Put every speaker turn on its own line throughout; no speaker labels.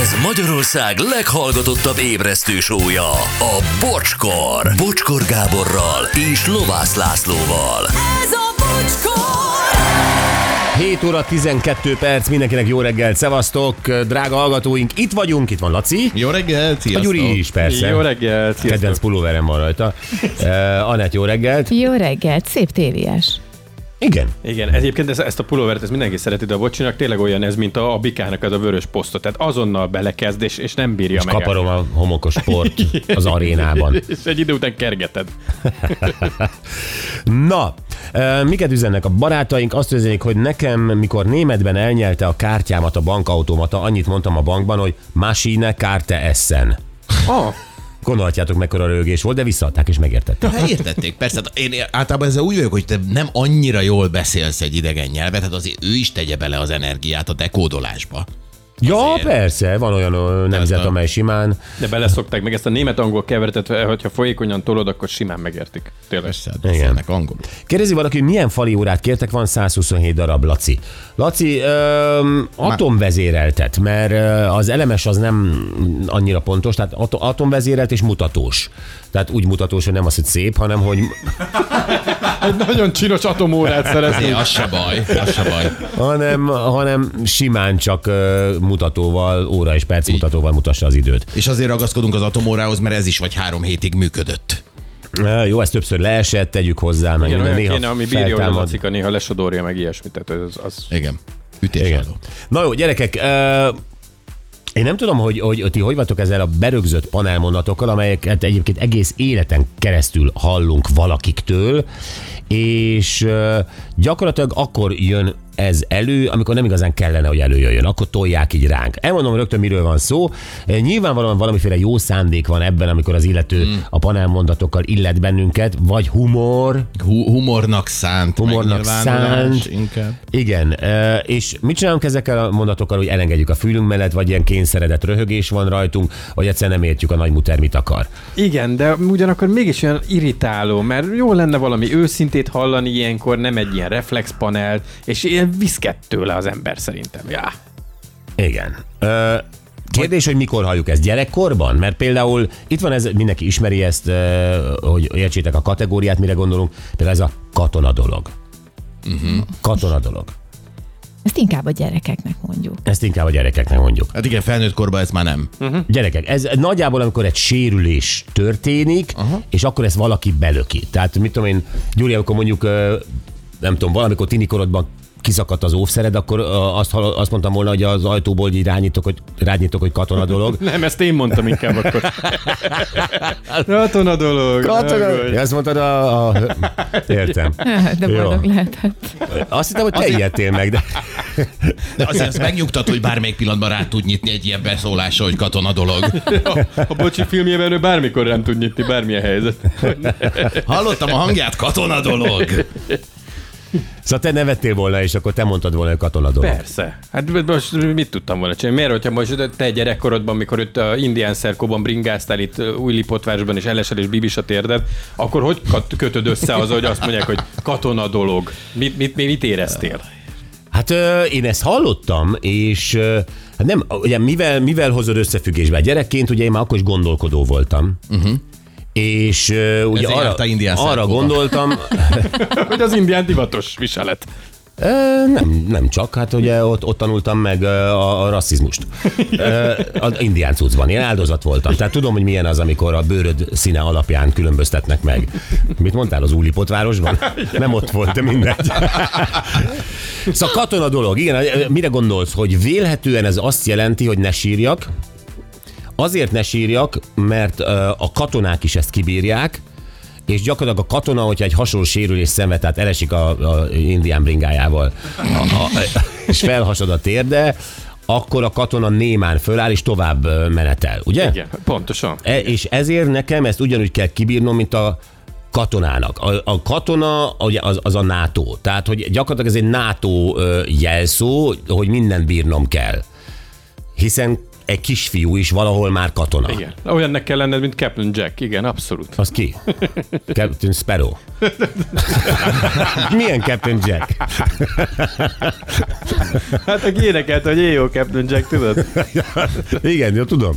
Ez Magyarország leghallgatottabb ébresztő sója, a Bocskor. Bocskor Gáborral és Lovász Lászlóval.
Ez a bocskor!
7 óra 12 perc, mindenkinek jó reggelt, szevasztok, drága hallgatóink, itt vagyunk, itt van Laci,
Jó reggelt,
a
sziasztok!
Gyuri is persze.
Jó reggelt! sziasztok.
Kedvenc pulóverem van rajta. Uh, Anett, jó reggelt.
Jó reggelt, szép téviás.
Igen.
Igen, egyébként ezt, ezt a pulóvert ezt mindenki szereti, de a bocsinak tényleg olyan ez, mint a, a bikának az a vörös posztot. Tehát azonnal belekezd, és, és nem bírja
És
meg.
kaparom a homokos port az arénában.
És egy idő után kergeted.
Na, ö, miket üzennek a barátaink? Azt üzenik, hogy nekem, mikor németben elnyelte a kártyámat a bankautomata, annyit mondtam a bankban, hogy Maschine Karte Essen.
Ah,
Gondolhatjátok, mekkora rögés volt, de visszaadták és megértették.
Hát értették, persze. Hát Én általában ezzel úgy vagyok, hogy te nem annyira jól beszélsz egy idegen nyelvet, hát azért ő is tegye bele az energiát a dekódolásba.
Ja,
Azért.
persze, van olyan ö, nemzet,
a-
amely simán
de beleszokták meg ezt a német-angol keveretet, hogyha folyékonyan tolod, akkor simán megértik. Tényleg.
Persze, hát beszélnek angolul.
Kérdezi valaki, hogy milyen fali órát kértek, van 127 darab, Laci. Laci, öm, atomvezéreltet, mert ö, az elemes az nem annyira pontos, tehát ato- atomvezérelt és mutatós. Tehát úgy mutatós, hogy nem az, hogy szép, hanem hogy
Egy nagyon csinos atomórát
Azért
szeretnék.
az se baj, az se baj.
hanem, hanem simán csak ö, mutatóval, óra és perc mutatóval mutassa az időt.
És azért ragaszkodunk az atomórához, mert ez is vagy három hétig működött.
Ö, Jó, ez többször leesett, tegyük hozzá, meg
Igen,
minden
olyan
néha
kéne, ami bírja, hogy a
feltámad.
lacika néha lesodorja meg ilyesmit. Tehát az, az...
Igen. Ütésálló.
Na jó, gyerekek, ö, én nem tudom, hogy, hogy ti hogy vagytok ezzel a berögzött panelmondatokkal, amelyeket egyébként egész életen keresztül hallunk valakiktől, és ö, gyakorlatilag akkor jön ez elő, amikor nem igazán kellene, hogy előjöjjön. Akkor tolják így ránk. Elmondom rögtön, miről van szó. Ö, Nyilvánvalóan valamiféle jó szándék van ebben, amikor az illető mm. a panelmondatokkal illet bennünket, vagy humor,
Hu- humornak szánt.
Humornak
megnyilvánulás
szánt.
Inkább.
igen, ö, és mit csinálunk ezekkel a mondatokkal, hogy elengedjük a fülünk mellett, vagy ilyen kényszeredett röhögés van rajtunk, vagy egyszerűen nem értjük a nagymuter mit akar.
Igen, de ugyanakkor mégis olyan irritáló, mert jó lenne valami őszintét hallani ilyenkor, nem egy ilyen reflexpanelt, és ilyen viszket tőle az ember szerintem. Já.
Igen. Ö, Kérdés, hogy mikor halljuk ezt? Gyerekkorban? Mert például itt van ez, mindenki ismeri ezt, ö, hogy értsétek a kategóriát, mire gondolunk, például ez a katona dolog. Uh-huh. Katona dolog.
Ezt inkább a gyerekeknek mondjuk.
Ezt inkább a gyerekeknek mondjuk.
Hát igen, felnőtt korban ez már nem.
Gyerekek, ez nagyjából, amikor egy sérülés történik, Aha. és akkor ezt valaki belöki. Tehát mit tudom én, Gyuri, amikor mondjuk, ö, nem tudom, valamikor tinikorodban kiszakadt az óvszered, akkor ö, azt, hall- azt mondtam volna, hogy az ajtóból így rányítok, hogy, rányítok, hogy katona dolog.
Nem, ezt én mondtam inkább akkor. Katona Hát, dolog.
Ja, Ezt mondtad a... a... Értem.
De
Jó.
boldog lehetett.
Azt hittem, hogy te ijedtél meg, de...
De azért ez megnyugtat, hogy bármelyik pillanatban rá tud nyitni egy ilyen beszólásra, hogy katona dolog.
A, a bocsi filmjében ő bármikor nem tud nyitni, bármilyen helyzet.
Hallottam a hangját, katona dolog.
Szóval te nevettél volna, és akkor te mondtad volna, hogy katona dolog.
Persze. Hát most mit tudtam volna csinálni? Miért, hogyha most te gyerekkorodban, mikor itt a indián szerkóban bringáztál itt ö, új lipotvárosban, és elesel és bibis a térded, akkor hogy kat- kötöd össze az, hogy azt mondják, hogy katona dolog? Mit, mit, mit, mit éreztél?
Hát ö, én ezt hallottam, és ö, hát nem, ugye mivel, mivel hozod összefüggésbe? Hát Gyerekként ugye én már akkor is gondolkodó voltam. Uh-huh. És ö, ugye
Mhm. Ezért
arra,
jártál indián
arra
szánkóba.
gondoltam,
Hogy az indián divatos viselet.
ö, nem, nem csak, hát ugye ott, ott tanultam meg ö, a, a rasszizmust. Ö, Az indián cuccban, én áldozat voltam. Tehát tudom, hogy milyen az, amikor a bőröd színe alapján különböztetnek meg. Mit mondtál, az Úlipotvárosban? Nem ott volt, de mindegy. Szóval katona dolog, igen, eh, mire gondolsz, hogy vélhetően ez azt jelenti, hogy ne sírjak? Azért ne sírjak, mert ö, a katonák is ezt kibírják, és gyakorlatilag a katona, hogyha egy hasonló sérülés szenved, tehát elesik a, a indián bringájával, a, a, és felhasad a térde, akkor a katona némán föláll, és tovább ö, menetel, ugye?
Igen, pontosan.
E, és ezért nekem ezt ugyanúgy kell kibírnom, mint a katonának. A, a katona ugye, az, az a NATO. Tehát, hogy gyakorlatilag ez egy NATO ö, jelszó, hogy mindent bírnom kell. Hiszen egy kisfiú is valahol már katona.
Igen. Olyannak kell lenned, mint Captain Jack. Igen, abszolút.
Az ki? Captain Sparrow. Milyen Captain Jack?
Hát aki énekelt, hogy éjjó Captain Jack, tudod?
Igen, jó, tudom.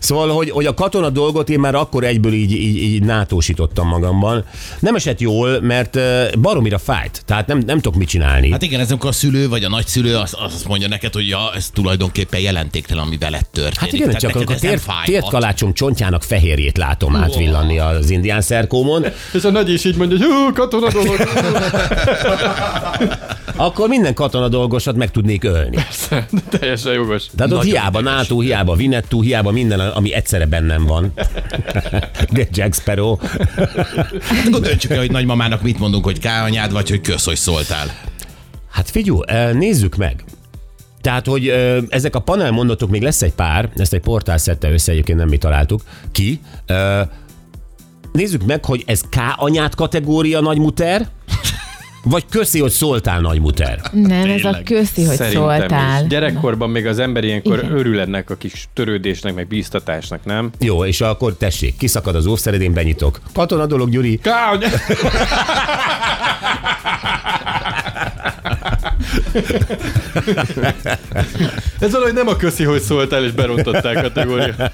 Szóval, hogy, hogy a katona dolgot én már akkor egyből így, így, így nátósítottam magamban. Nem esett jól, mert ö, baromira fájt. Tehát nem, nem tudok mit csinálni.
Hát igen, ez amikor a szülő vagy a nagyszülő azt, azt mondja neked, hogy ja, ez tulajdonképpen jelentéktelen, ami veled történik.
Hát igen,
Tehát
csak
neked
akkor a
ez nem
tért,
fájhat.
tértkalácsom csontjának fehérjét látom átvillanni az indián szerkómon,
És a nagy is így mondja, hogy hú, katona dolog.
akkor minden katona dolgosat meg tudnék ölni.
Teljesen jogos.
Tehát ott
Nagyon
hiába
ideges.
NATO, hiába Vinettú, hiába minden, ami egyszerre bennem van. De Jack Sparrow.
Hát akkor döntsük el, hogy nagymamának mit mondunk, hogy káanyád vagy, hogy kösz, hogy szóltál.
Hát figyú, eh, nézzük meg. Tehát, hogy ö, ezek a panel mondatok, még lesz egy pár, ezt egy portál szedte össze, egyébként nem mi találtuk ki. Ö, nézzük meg, hogy ez K anyát kategória nagymuter, vagy köszi, hogy szóltál nagymuter.
Nem, ez a köszi, hogy szóltál.
Is. Gyerekkorban még az ember ilyenkor
Igen.
örül ennek a kis törődésnek, meg bíztatásnak, nem?
Jó, és akkor tessék, kiszakad az óvszered, én benyitok. Katona dolog, Gyuri.
Kány! Ez valahogy nem a köszi, hogy szóltál, és berontották a kategóriát.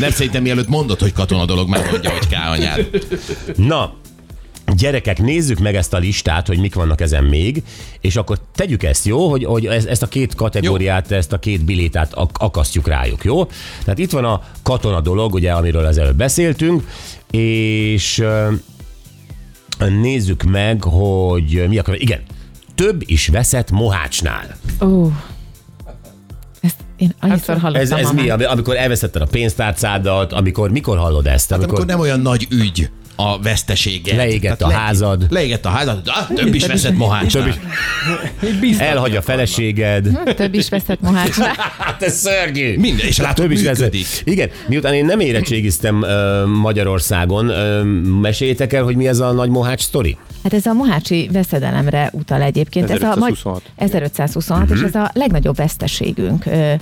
Nem szerintem mielőtt mondod, hogy katona dolog, már mondja, hogy káanyád.
Na, gyerekek, nézzük meg ezt a listát, hogy mik vannak ezen még, és akkor tegyük ezt, jó? Hogy, hogy ez, ezt a két kategóriát, jó. ezt a két bilétát ak- akasztjuk rájuk, jó? Tehát itt van a katona dolog, ugye, amiről az előbb beszéltünk, és ö, nézzük meg, hogy ö, mi akar... Igen, több is veszett mohácsnál.
Ó. Ezt én annyiszor hallottam.
Ez, ez
ma
mi,
Hát, már.
ami- amikor elvesztetted a pénztárcádat, amikor, mikor hallod ezt? Amikor,
Amikor nem olyan nagy ügy a vesztesége.
leégett a házad,
Leégett a házad, ah, több is veszett mohács.
több is, elhagy a feleséged.
Több is veszett mohácsnál.
Hát ez szörnyű.
Minden, és látod,
Több is lesz.
működik.
Igen, miután én nem érettségiztem ö, Magyarországon, ö, meséljétek el, hogy mi ez a nagy mohács sztori?
Hát ez a mohácsi veszedelemre utal egyébként. Ez a, magy-
1526.
1526, és ez a legnagyobb veszteségünk. Ö,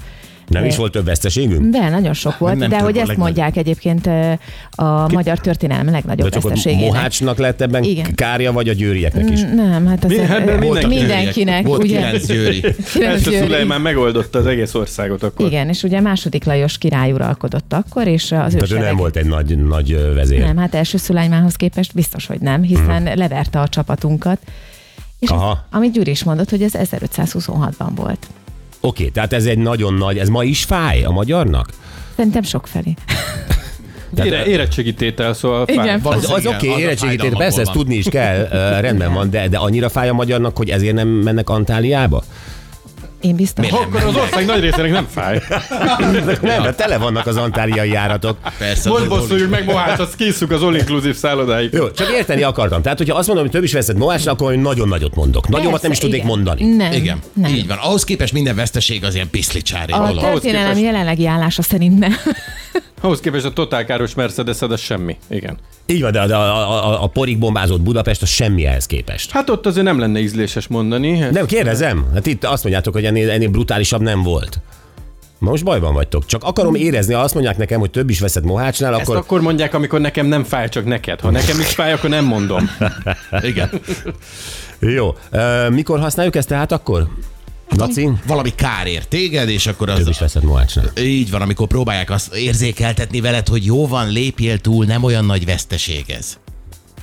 Nem
ö,
is volt több veszteségünk?
De nagyon sok volt,
nem
de
tudom,
hogy
a
ezt
legnagyobb.
mondják egyébként ö, a magyar történelem
De
legnagyobb
csak a
veszteségének.
mohácsnak lett ebben
Igen.
Igen. kárja, vagy a győrieknek is?
Nem, hát azért
hát
ö,
de mindenkinek.
mindenkinek.
Volt
ugye?
kilenc győri.
Kilenc
Ezt a
győri.
Szulejmán megoldotta az egész országot akkor.
Igen, és ugye második Lajos király uralkodott akkor, és az
Tehát ő
ősereg...
nem volt egy nagy, nagy ö, vezér.
Nem, hát első Szulajmához képest biztos, hogy nem, hiszen leverte a csapatunkat. És
Mhm. Aha.
Aha. Ez, amit Gyuri is mondott, hogy ez 1526-ban volt.
Oké, tehát ez egy nagyon nagy, ez ma is fáj a magyarnak?
Szerintem sokfelé.
Ére, érettségi tétel, szóval fáj.
Igen.
Az, az
Igen,
oké,
az a
érettségítét,
fájdalmakból
persze, ezt
van.
tudni is kell, ö, rendben van, de, de annyira fáj a magyarnak, hogy ezért nem mennek Antáliába?
Én biztos.
Miért
Akkor az ország nagy részének nem fáj.
Nem, de tele vannak az antáliai járatok.
Persze, az
Most
a
bosszuljuk meg Mohács, azt készük az all inclusive szállodáig.
Jó, csak érteni akartam. Tehát, hogyha azt mondom, hogy több is veszed Moácsra, akkor én nagyon nagyot mondok. Nagyobbat
Persze,
nem is tudnék
igen.
mondani.
Nem.
Igen,
nem.
így van. Ahhoz képest minden veszteség az ilyen piszlicsári
A
dolog.
történelem
képest-
jelenlegi állása szerint nem.
Ahhoz képest a totálkáros Mercedes az semmi. Igen.
Így van, de de a, a, a, a porig bombázott Budapest az semmi ehhez képest.
Hát ott azért nem lenne ízléses mondani.
Nem, kérdezem. Hát itt azt mondjátok, hogy ennél, ennél brutálisabb nem volt. Na Most bajban vagytok. Csak akarom érezni, ha azt mondják nekem, hogy több is veszed Mohácsnál,
Ezt akkor...
akkor...
akkor mondják, amikor nekem nem fáj, csak neked. Ha nekem is fáj, akkor nem mondom.
Igen.
Jó. Ö, mikor használjuk ezt tehát akkor? Laci?
Valami kár ér téged, és akkor az...
Több is veszed Mohácsnál.
Így van, amikor próbálják azt érzékeltetni veled, hogy jó van, lépjél túl, nem olyan nagy veszteség ez.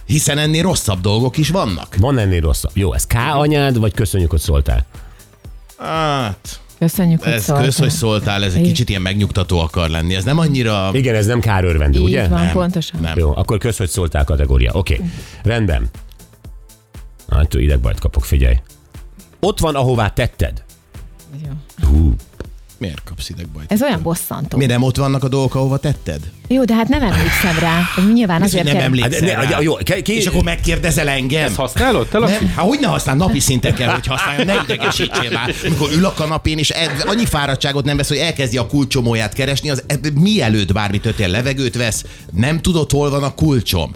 Hiszen ennél rosszabb dolgok is vannak.
Van ennél rosszabb. Jó, ez K anyád, vagy köszönjük, hogy szóltál?
Hát,
Köszönjük, hogy
ez kösz, hogy szóltál, ez egy
Igen.
kicsit ilyen megnyugtató akar lenni. Ez nem annyira...
Igen, ez nem kár örvendő,
Így
ugye?
van, pontosan.
Nem.
Jó, akkor kösz, hogy szóltál kategória. Oké, okay. rendben. Hát idegbajt kapok, figyelj. Ott van, ahová tetted.
Jó.
Hú,
Miért kapsz idegbajt?
Ez olyan bosszantó.
Mi nem ott vannak a dolgok, ahova tetted?
Jó, de hát nem emlékszem rá, hogy nyilván
Ez, hogy
azért
nem
kell...
Hát
emlékszel
ne-
rá.
ja, jó, ke- ki-
És akkor megkérdezel engem?
Ezt használod? Te Laci?
Nem, hát hogy ne használ napi szinten kell, hogy használjon, ne idegesítsél már. Amikor ül a kanapén, és ed, annyi fáradtságot nem vesz, hogy elkezdi a kulcsomóját keresni, az eb- mielőtt bármi történ levegőt vesz, nem tudod, hol van a kulcsom.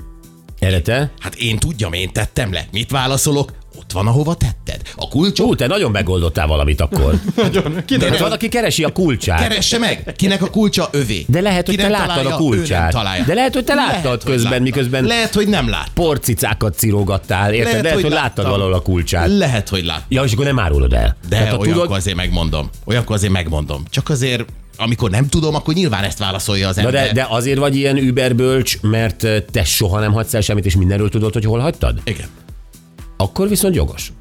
erre te?
Hát én tudjam, én tettem le. Mit válaszolok? ott van, ahova tetted. A kulcsot
Ú, te nagyon megoldottál valamit akkor.
Nagyon.
De hát valaki keresi a kulcsát.
keresse meg, kinek a kulcsa övé.
hát- de lehet, hogy
Ki
te
nem
láttad
találja,
a
ő nem
kulcsát.
találja.
De lehet, hogy te
Lehet,
láttad
hogy
közben,
láttam.
miközben
Lehet, hogy nem lát.
porcicákat cirogattál, érted? Lehet, lehet hogy, láttad
láttam.
valahol a kulcsát.
Lehet, hogy lát.
Ja, és akkor nem árulod el.
De
ha
hát, olyankor tudod... azért megmondom. Olyankor azért megmondom. Csak azért, amikor nem tudom, akkor nyilván ezt válaszolja az
Na
ember.
de, de azért vagy ilyen überbölcs, mert eh, te soha nem hagysz el semmit, és mindenről tudod, hogy hol hagytad?
Igen.
Akkor viszont jogos.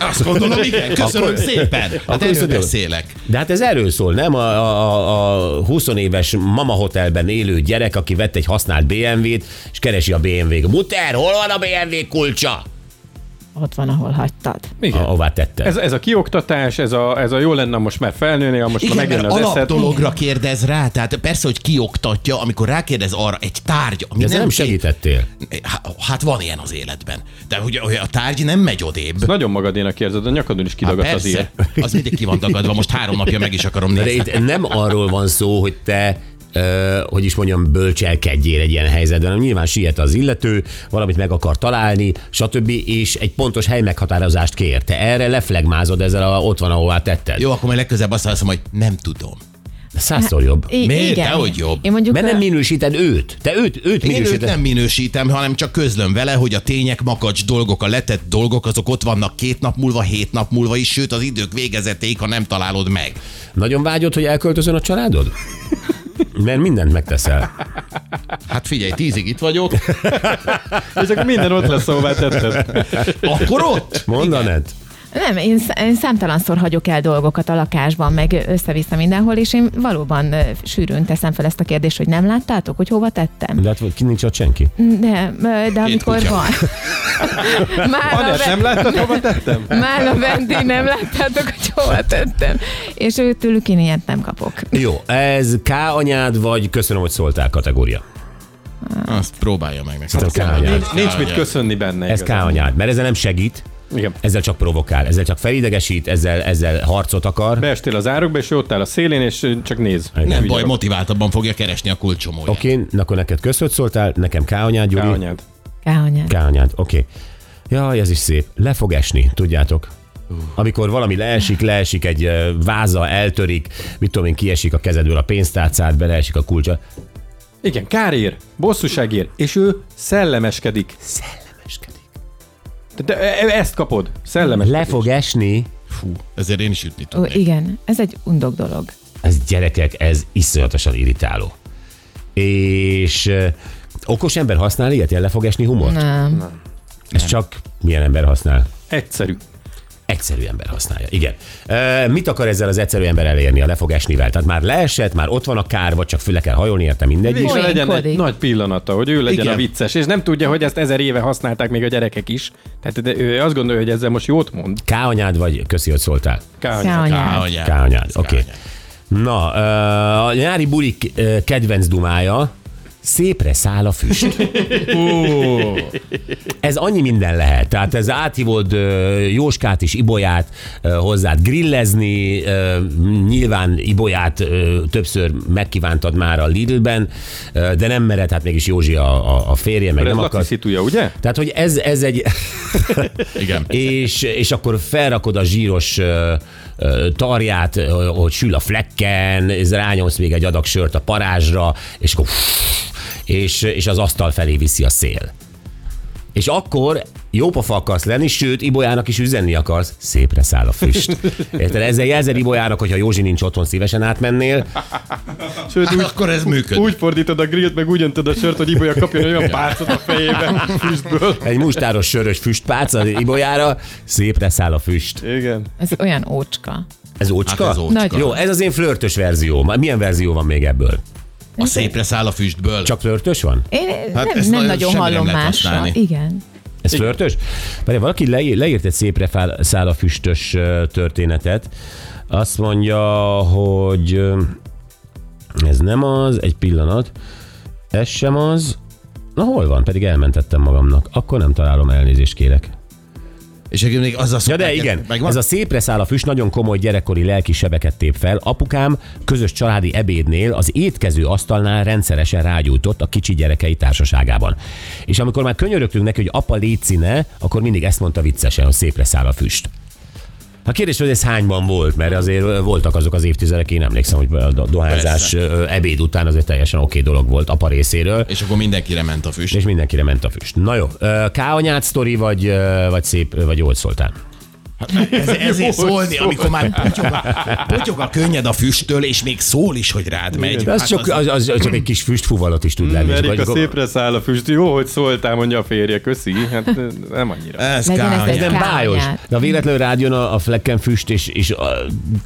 Azt gondolom, igen. Köszönöm
Akkor-
szépen. Hát
akkor
erről
viszont jó.
beszélek.
De hát ez erről szól, nem? A, a, a, a 20 éves mama hotelben élő gyerek, aki vett egy használt BMW-t, és keresi a BMW-t. Muter, hol van a BMW kulcsa?
Ott van, ahol hagytad.
Igen.
A, ahová tette.
Ez, ez a kioktatás, ez a, ez a jó lenne most már felnőni, ha most már
Igen,
megjön
mert
az
alap
eszed.
dologra kérdez rá, tehát persze, hogy kioktatja, amikor rákérdez arra egy tárgy, ami
De ezzel nem
kép-
segítettél.
Há- Hát van ilyen az életben. De hogy hogy a tárgy nem megy odébb.
Nagyon magadénak érzed, a nyakadon is
Hát
kidagadt az ír.
persze, az mindig ki van dagadva, most három napja meg is akarom
De
nézni.
itt nem arról van szó, hogy te ö, hogy is mondjam, bölcselkedjél egy ilyen helyzetben, hanem nyilván siet az illető, valamit meg akar találni, stb. és egy pontos hely meghatározást kér. Te erre leflegmázod ezzel, a, ott van, ahová tetted.
Jó, akkor majd legközelebb azt mondom, hogy nem tudom.
Százszor jobb.
I-
Miért? Dehogy jobb.
Hát, Én mondjuk
Mert nem
a-
minősíted őt. Te őt, őt
Én őt
minősíted.
nem minősítem, hanem csak közlöm vele, hogy a tények, makacs dolgok, a letett dolgok, azok ott vannak két nap múlva, hét nap múlva is, sőt az idők végezetéig, ha nem találod meg.
Nagyon vágyod, hogy elköltözön a családod? Mert mindent megteszel.
Hát figyelj, tízig itt vagyok,
És akkor minden ott lesz, ahová tetted.
akkor ott?
Mondanád?
Nem, én, sz- én számtalanszor hagyok el dolgokat a lakásban, meg össze-vissza mindenhol, és én valóban ö, sűrűn teszem fel ezt a kérdést, hogy nem láttátok, hogy hova tettem?
De hát ki nincs ott senki.
De, ö, de amikor
Hm. kutya.
van. Már a,
Anett,
ve-
nem láttad, hova tettem?
már a vendég nem láttátok, hogy hova tettem. És ő tőlük én ilyet nem kapok.
Jó, ez K anyád, vagy köszönöm, hogy szóltál kategória.
Azt próbálja meg nekem.
Szerintem K anyád.
Nincs mit köszönni benne.
Ez K
igazán.
anyád, mert ezzel nem segít,
Igen.
ezzel csak provokál, ezzel csak felidegesít, ezzel, ezzel harcot akar.
Beestél az árokba, és ő ott áll a szélén, és csak néz.
Nem baj, motiváltabban fogja keresni a kulcsomóját.
Oké, okay, akkor neked köszöt szóltál, nekem K anyád, Gyuri.
K anyád.
Káhanyád.
K anyád, oké. Okay. Jaj, ez is szép. Le fog esni, tudjátok. Amikor valami leesik, leesik egy ö, váza, eltörik, mit tudom én, kiesik a kezedből a pénztárcád, beleesik a kulcsa.
Igen, kár ér, bosszúság ér, és ő szellemeskedik.
Szellemeskedik.
De e- ezt kapod, szellemes.
Le fog esni.
Fú, ezért én is ütni
Ó,
tudnék.
igen, ez egy undok dolog.
Ez gyerekek, ez iszonyatosan irritáló. És ö, okos ember használ ilyet, ilyen le fog esni humort?
Nem.
Ez csak milyen ember használ?
Egyszerű.
Egyszerű ember használja, igen. E, mit akar ezzel az egyszerű ember elérni a lefogásnivel? Tehát már leesett, már ott van a kár, vagy csak föl kell hajolni, érte mindegy.
Végre legyen egy
Poénkodik.
nagy pillanata, hogy ő legyen
Igen.
Igen. a vicces, és nem tudja, hogy ezt ezer éve használták még a gyerekek is. Tehát de ő azt gondolja, hogy ezzel most jót mond.
K anyád vagy? Köszi, hogy szóltál.
K anyád.
Káhanyád.
Kányád.
K anyád, oké.
Kányád.
Okay. Na, ö, a nyári bulik ö, kedvenc dumája, szépre száll a füst. ez annyi minden lehet. Tehát ez áthívod ö, Jóskát és Ibolyát ö, hozzád grillezni, ö, nyilván Ibolyát ö, többször megkívántad már a Lidlben, ö, de nem mered, hát mégis Józsi a, a, a férje, meg
Ez
nem
Laci
akar.
szituja, ugye?
Tehát, hogy ez, ez egy...
Igen.
és, és akkor felrakod a zsíros ö, ö, tarját, ö, hogy sül a flekken, ez rányomsz még egy adag sört a parázsra, és akkor és, és az asztal felé viszi a szél. És akkor jópofa akarsz lenni, sőt, Ibolyának is üzenni akarsz, szépre száll a füst. Érted? Ezzel jelzed Ibolyának, hogyha Józsi nincs otthon, szívesen átmennél.
Sőt,
Hát
úgy,
akkor ez működik.
úgy fordítod a grillt, meg úgy öntöd a sört, hogy Ibolya kapjon egy olyan pálcot a fejébe füstből.
Egy mustáros sörös füstpác az Ibolyára, szépre száll a füst.
Igen.
Ez olyan ócska.
Ez ócska?
Hát ez ócska.
Nagyon.
Jó, ez az én flörtös verzióm. Milyen verzió van még ebből?
A szépre száll a füstből.
Csak flörtös van?
Én
Hát
hát
ezt
nem, nem
nagyon-
nagyon
semmire nem
hallom
lehet
másra.
használni.
Igen.
Ez Igen. flörtös? Várjál, valaki leí- leírt egy szépre fál- száll a füstös ö, történetet. Azt mondja, hogy ö, ez nem az, egy pillanat, ez sem az. Na hol van? Pedig elmentettem magamnak. Akkor nem találom, elnézést kérek.
És akkor még az a
Ja, de igen,
Megvan?
ez a szépre száll a füst nagyon komoly gyerekkori lelki sebeket tép fel. Apukám közös családi ebédnél az étkező asztalnál rendszeresen rágyújtott a kicsi gyerekei társaságában. És amikor már könyörögtünk neki, hogy apa légy színe, akkor mindig ezt mondta viccesen, hogy szépre száll a füst. A kérdés, hogy ez hányban volt, mert azért ö, voltak azok az évtizedek, én emlékszem, hogy a do- dohányzás ö, ebéd után azért teljesen oké okay dolog volt apa részéről.
És akkor mindenkire ment a füst.
És mindenkire ment a füst. Na jó, ö, K. anyád sztori, vagy, ö, vagy szép, vagy jól szóltál?
Ez, ezért szólni, amikor már potyog a, potyog a könnyed a füsttől, és még szól is, hogy hát rád megy.
De az, csak, az, az, az csak egy kis füstfúvalat is tud lenni. és
Erika
akkor-
szépre száll a füst. Jó, hogy szóltál, mondja a férje, köszi. Hát nem annyira.
Ez
Legyen ez
kány.
egy-
nem bájos.
Kányát.
De véletlenül rád jön a, a flekken füst, és, és a,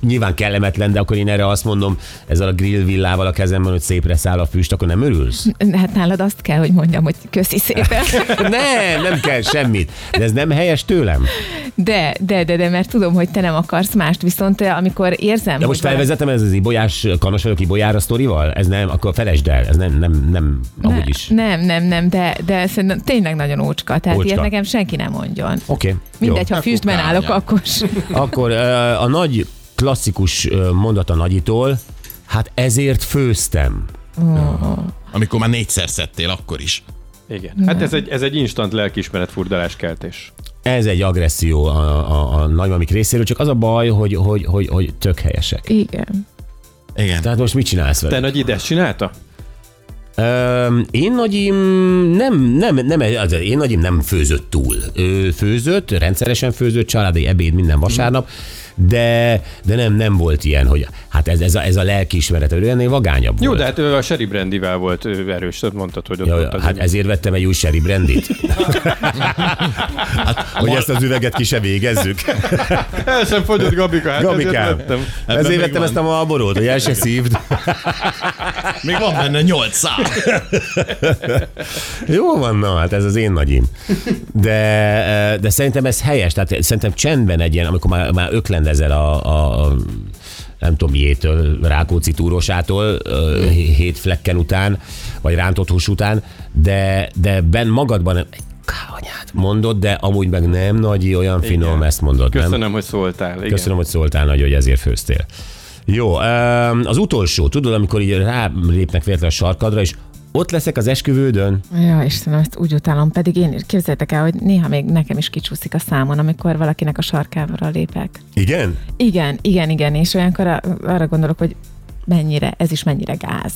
nyilván kellemetlen, de akkor én erre azt mondom, ezzel a grill villával a kezemben, hogy szépre száll a füst, akkor nem örülsz?
Hát nálad azt kell, hogy mondjam, hogy köszi szépen.
nem, nem kell semmit. De ez nem helyes tőlem.
De, de, de, de, mert tudom, hogy te nem akarsz mást, viszont eh, amikor érzem,
De most
hogy valami-
felvezetem ez az ibolyás, kanos vagyok ibolyára sztorival? Ez nem, akkor felejtsd el. Ez nem, nem, nem, amúgy is.
Nem, nem, nem, de, de szerintem tényleg nagyon ócska. Tehát
Ócska.
ócska. ilyet nekem senki nem mondjon.
Oké. Okay,
Mindegy, ha
Akkor
füstben
kárnya.
állok, akkor sem.
Akkor ö, a nagy klasszikus ö, mondat a nagyitól, hát ezért főztem.
Amikor már négyszer szedtél, akkor is.
Igen. Hát ez egy, ez egy instant lelkiismeret furdaláskeltés.
Ez egy agresszió a, a, a nagymamik részéről, csak az a baj, hogy, hogy, hogy, hogy tök helyesek.
Igen.
Igen.
Tehát most mit csinálsz vele?
Te nagy ide ezt csinálta?
Öm, én nagyim nem, nem, nem, az- én nagyim nem főzött túl. Ő főzött, rendszeresen főzött, családi ebéd minden vasárnap, de, de nem, nem volt ilyen, hogy hát ez, ez a, ez a lelkiismeret, ő ennél vagányabb
Jó,
volt.
de hát ő a Sherry Brandivel volt ő erős, tehát mondtad, hogy ott
Ja,
volt
ja,
az
hát
egy-
ezért vettem egy új sherry brandit. hát, hogy ezt az üveget ki se végezzük.
El sem fogyott Gabika, hát ezért
Gabikám,
vettem.
ezért
még
vettem
van.
ezt a malborót, hogy el se szívd.
Még van benne nyolc szám.
Jó van, na hát ez az én nagyim. De, de szerintem ez helyes, tehát szerintem csendben egy ilyen, amikor már, már öklendezel a, a, a nem tudom miétől, Rákóczi túrósától ö, hét flekken után, vagy rántott hús után, de, de ben magadban egy kávanyát mondod, de amúgy meg nem nagy, olyan finom,
Igen.
ezt mondod, nem?
Köszönöm, hogy szóltál. Igen.
Köszönöm, hogy szóltál nagy, hogy ezért főztél. Jó, öm, az utolsó, tudod, amikor így rálépnek véletlen a sarkadra, és ott leszek az esküvődön.
Ja, Istenem, ezt úgy utálom, pedig én képzeljétek el, hogy néha még nekem is kicsúszik a számon, amikor valakinek a sarkámra lépek.
Igen?
Igen, igen, igen, és olyankor a- arra gondolok, hogy mennyire, ez is mennyire gáz.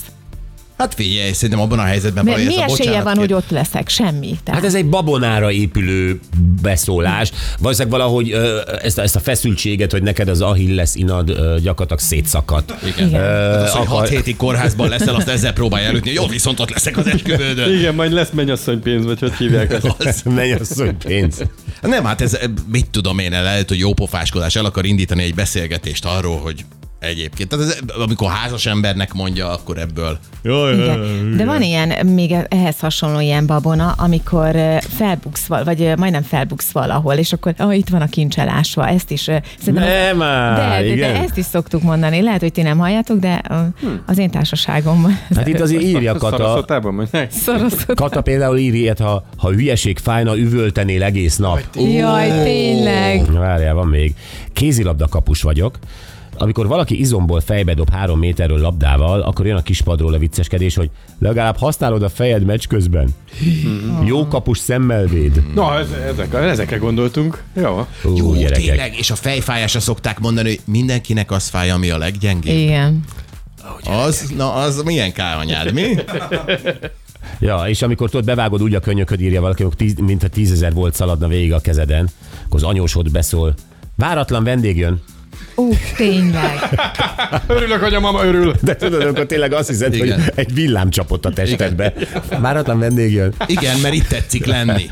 Hát figyelj, szerintem abban a helyzetben
Mi,
valahogy
mi
ez a
esélye van,
bocsánat
hogy ott leszek? Semmi. Tehát,
Hát ez egy babonára épülő beszólás. Valószínűleg valahogy ö, ezt, a- ezt a feszültséget, hogy neked az Achilles inad ö, gyakorlatilag szétszakadt.
Igen.
Igen.
Ö,
Az, hogy
akar-
6 hétig kórházban leszel, azt ezzel próbálj elütni. Jó, viszont ott leszek az esküvődön.
Igen, majd lesz mennyasszony pénz, vagy hogy hívják ezt.
Az.
Menj asszony pénz.
Nem, hát ez mit tudom én, lehet, hogy jó pofáskodás el akar indítani egy beszélgetést arról, hogy egyébként. Tehát ez, amikor házas embernek mondja, akkor ebből.
igen. De van ilyen, még ehhez hasonló ilyen babona, amikor ö, felbuksz, val, vagy ö, majdnem felbuksz valahol, és akkor ah, itt van a kincselásva, ezt is. ö, Szerintem
Nem már,
de, de,
igen.
de ezt is szoktuk mondani. Lehet, hogy ti nem halljátok, de ö, az én társaságomban.
Hát itt azért írja Kata.
Szaraszotában mondják.
Szoroszot.
Kata például írja ilyet, ha, ha hülyeség fájna, üvöltenél egész nap.
Jaj, tényleg.
Na, Várjál, van még. Kézilabda kapus vagyok. Amikor valaki izomból fejbe dob három méterről labdával, akkor jön a kispadról a vicceskedés, hogy legalább használod a fejed meccs közben.
Hmm.
Jó kapus szemmel véd.
Na, ez, ezek, ezekre gondoltunk. Jó.
Ú,
Jó,
gyerekek.
tényleg, és a fejfájásra szokták mondani, hogy mindenkinek az fáj, ami a leggyengébb.
Igen.
Az, na az milyen káranyád, mi?
Ja, és amikor tudod, bevágod úgy a könyököd, írja valaki, hogy tíz, mint a tízezer volt szaladna végig a kezeden, akkor az anyósod beszól. Váratlan vendég jön.
Ú, tényleg.
Örülök, hogy a mama örül.
De tudod, akkor tényleg azt hiszed,
Igen.
hogy egy villám csapott a testedbe. Váratlan vendég jön.
Igen, mert itt tetszik lenni.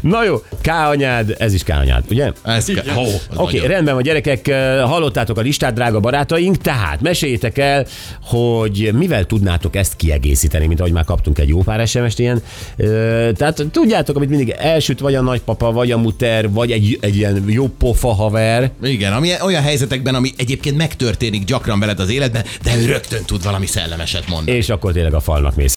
Na jó, K anyád, ez is K anyád, ugye?
Ez ke- Hó, az
Oké, okay,
nagyon.
rendben van, gyerekek, eh, hallottátok a listát, drága barátaink, tehát meséljétek el, hogy mivel tudnátok ezt kiegészíteni, mint ahogy már kaptunk egy jó pár SMS-t ilyen. Ö, Tehát tudjátok, amit mindig elsüt, vagy a nagypapa, vagy a muter, vagy egy, egy ilyen jó pofa haver.
Igen, ami olyan helyzetekben, ami egyébként megtörténik gyakran veled az életben, de ő rögtön tud valami szellemeset mondani.
És akkor tényleg a falnak mész.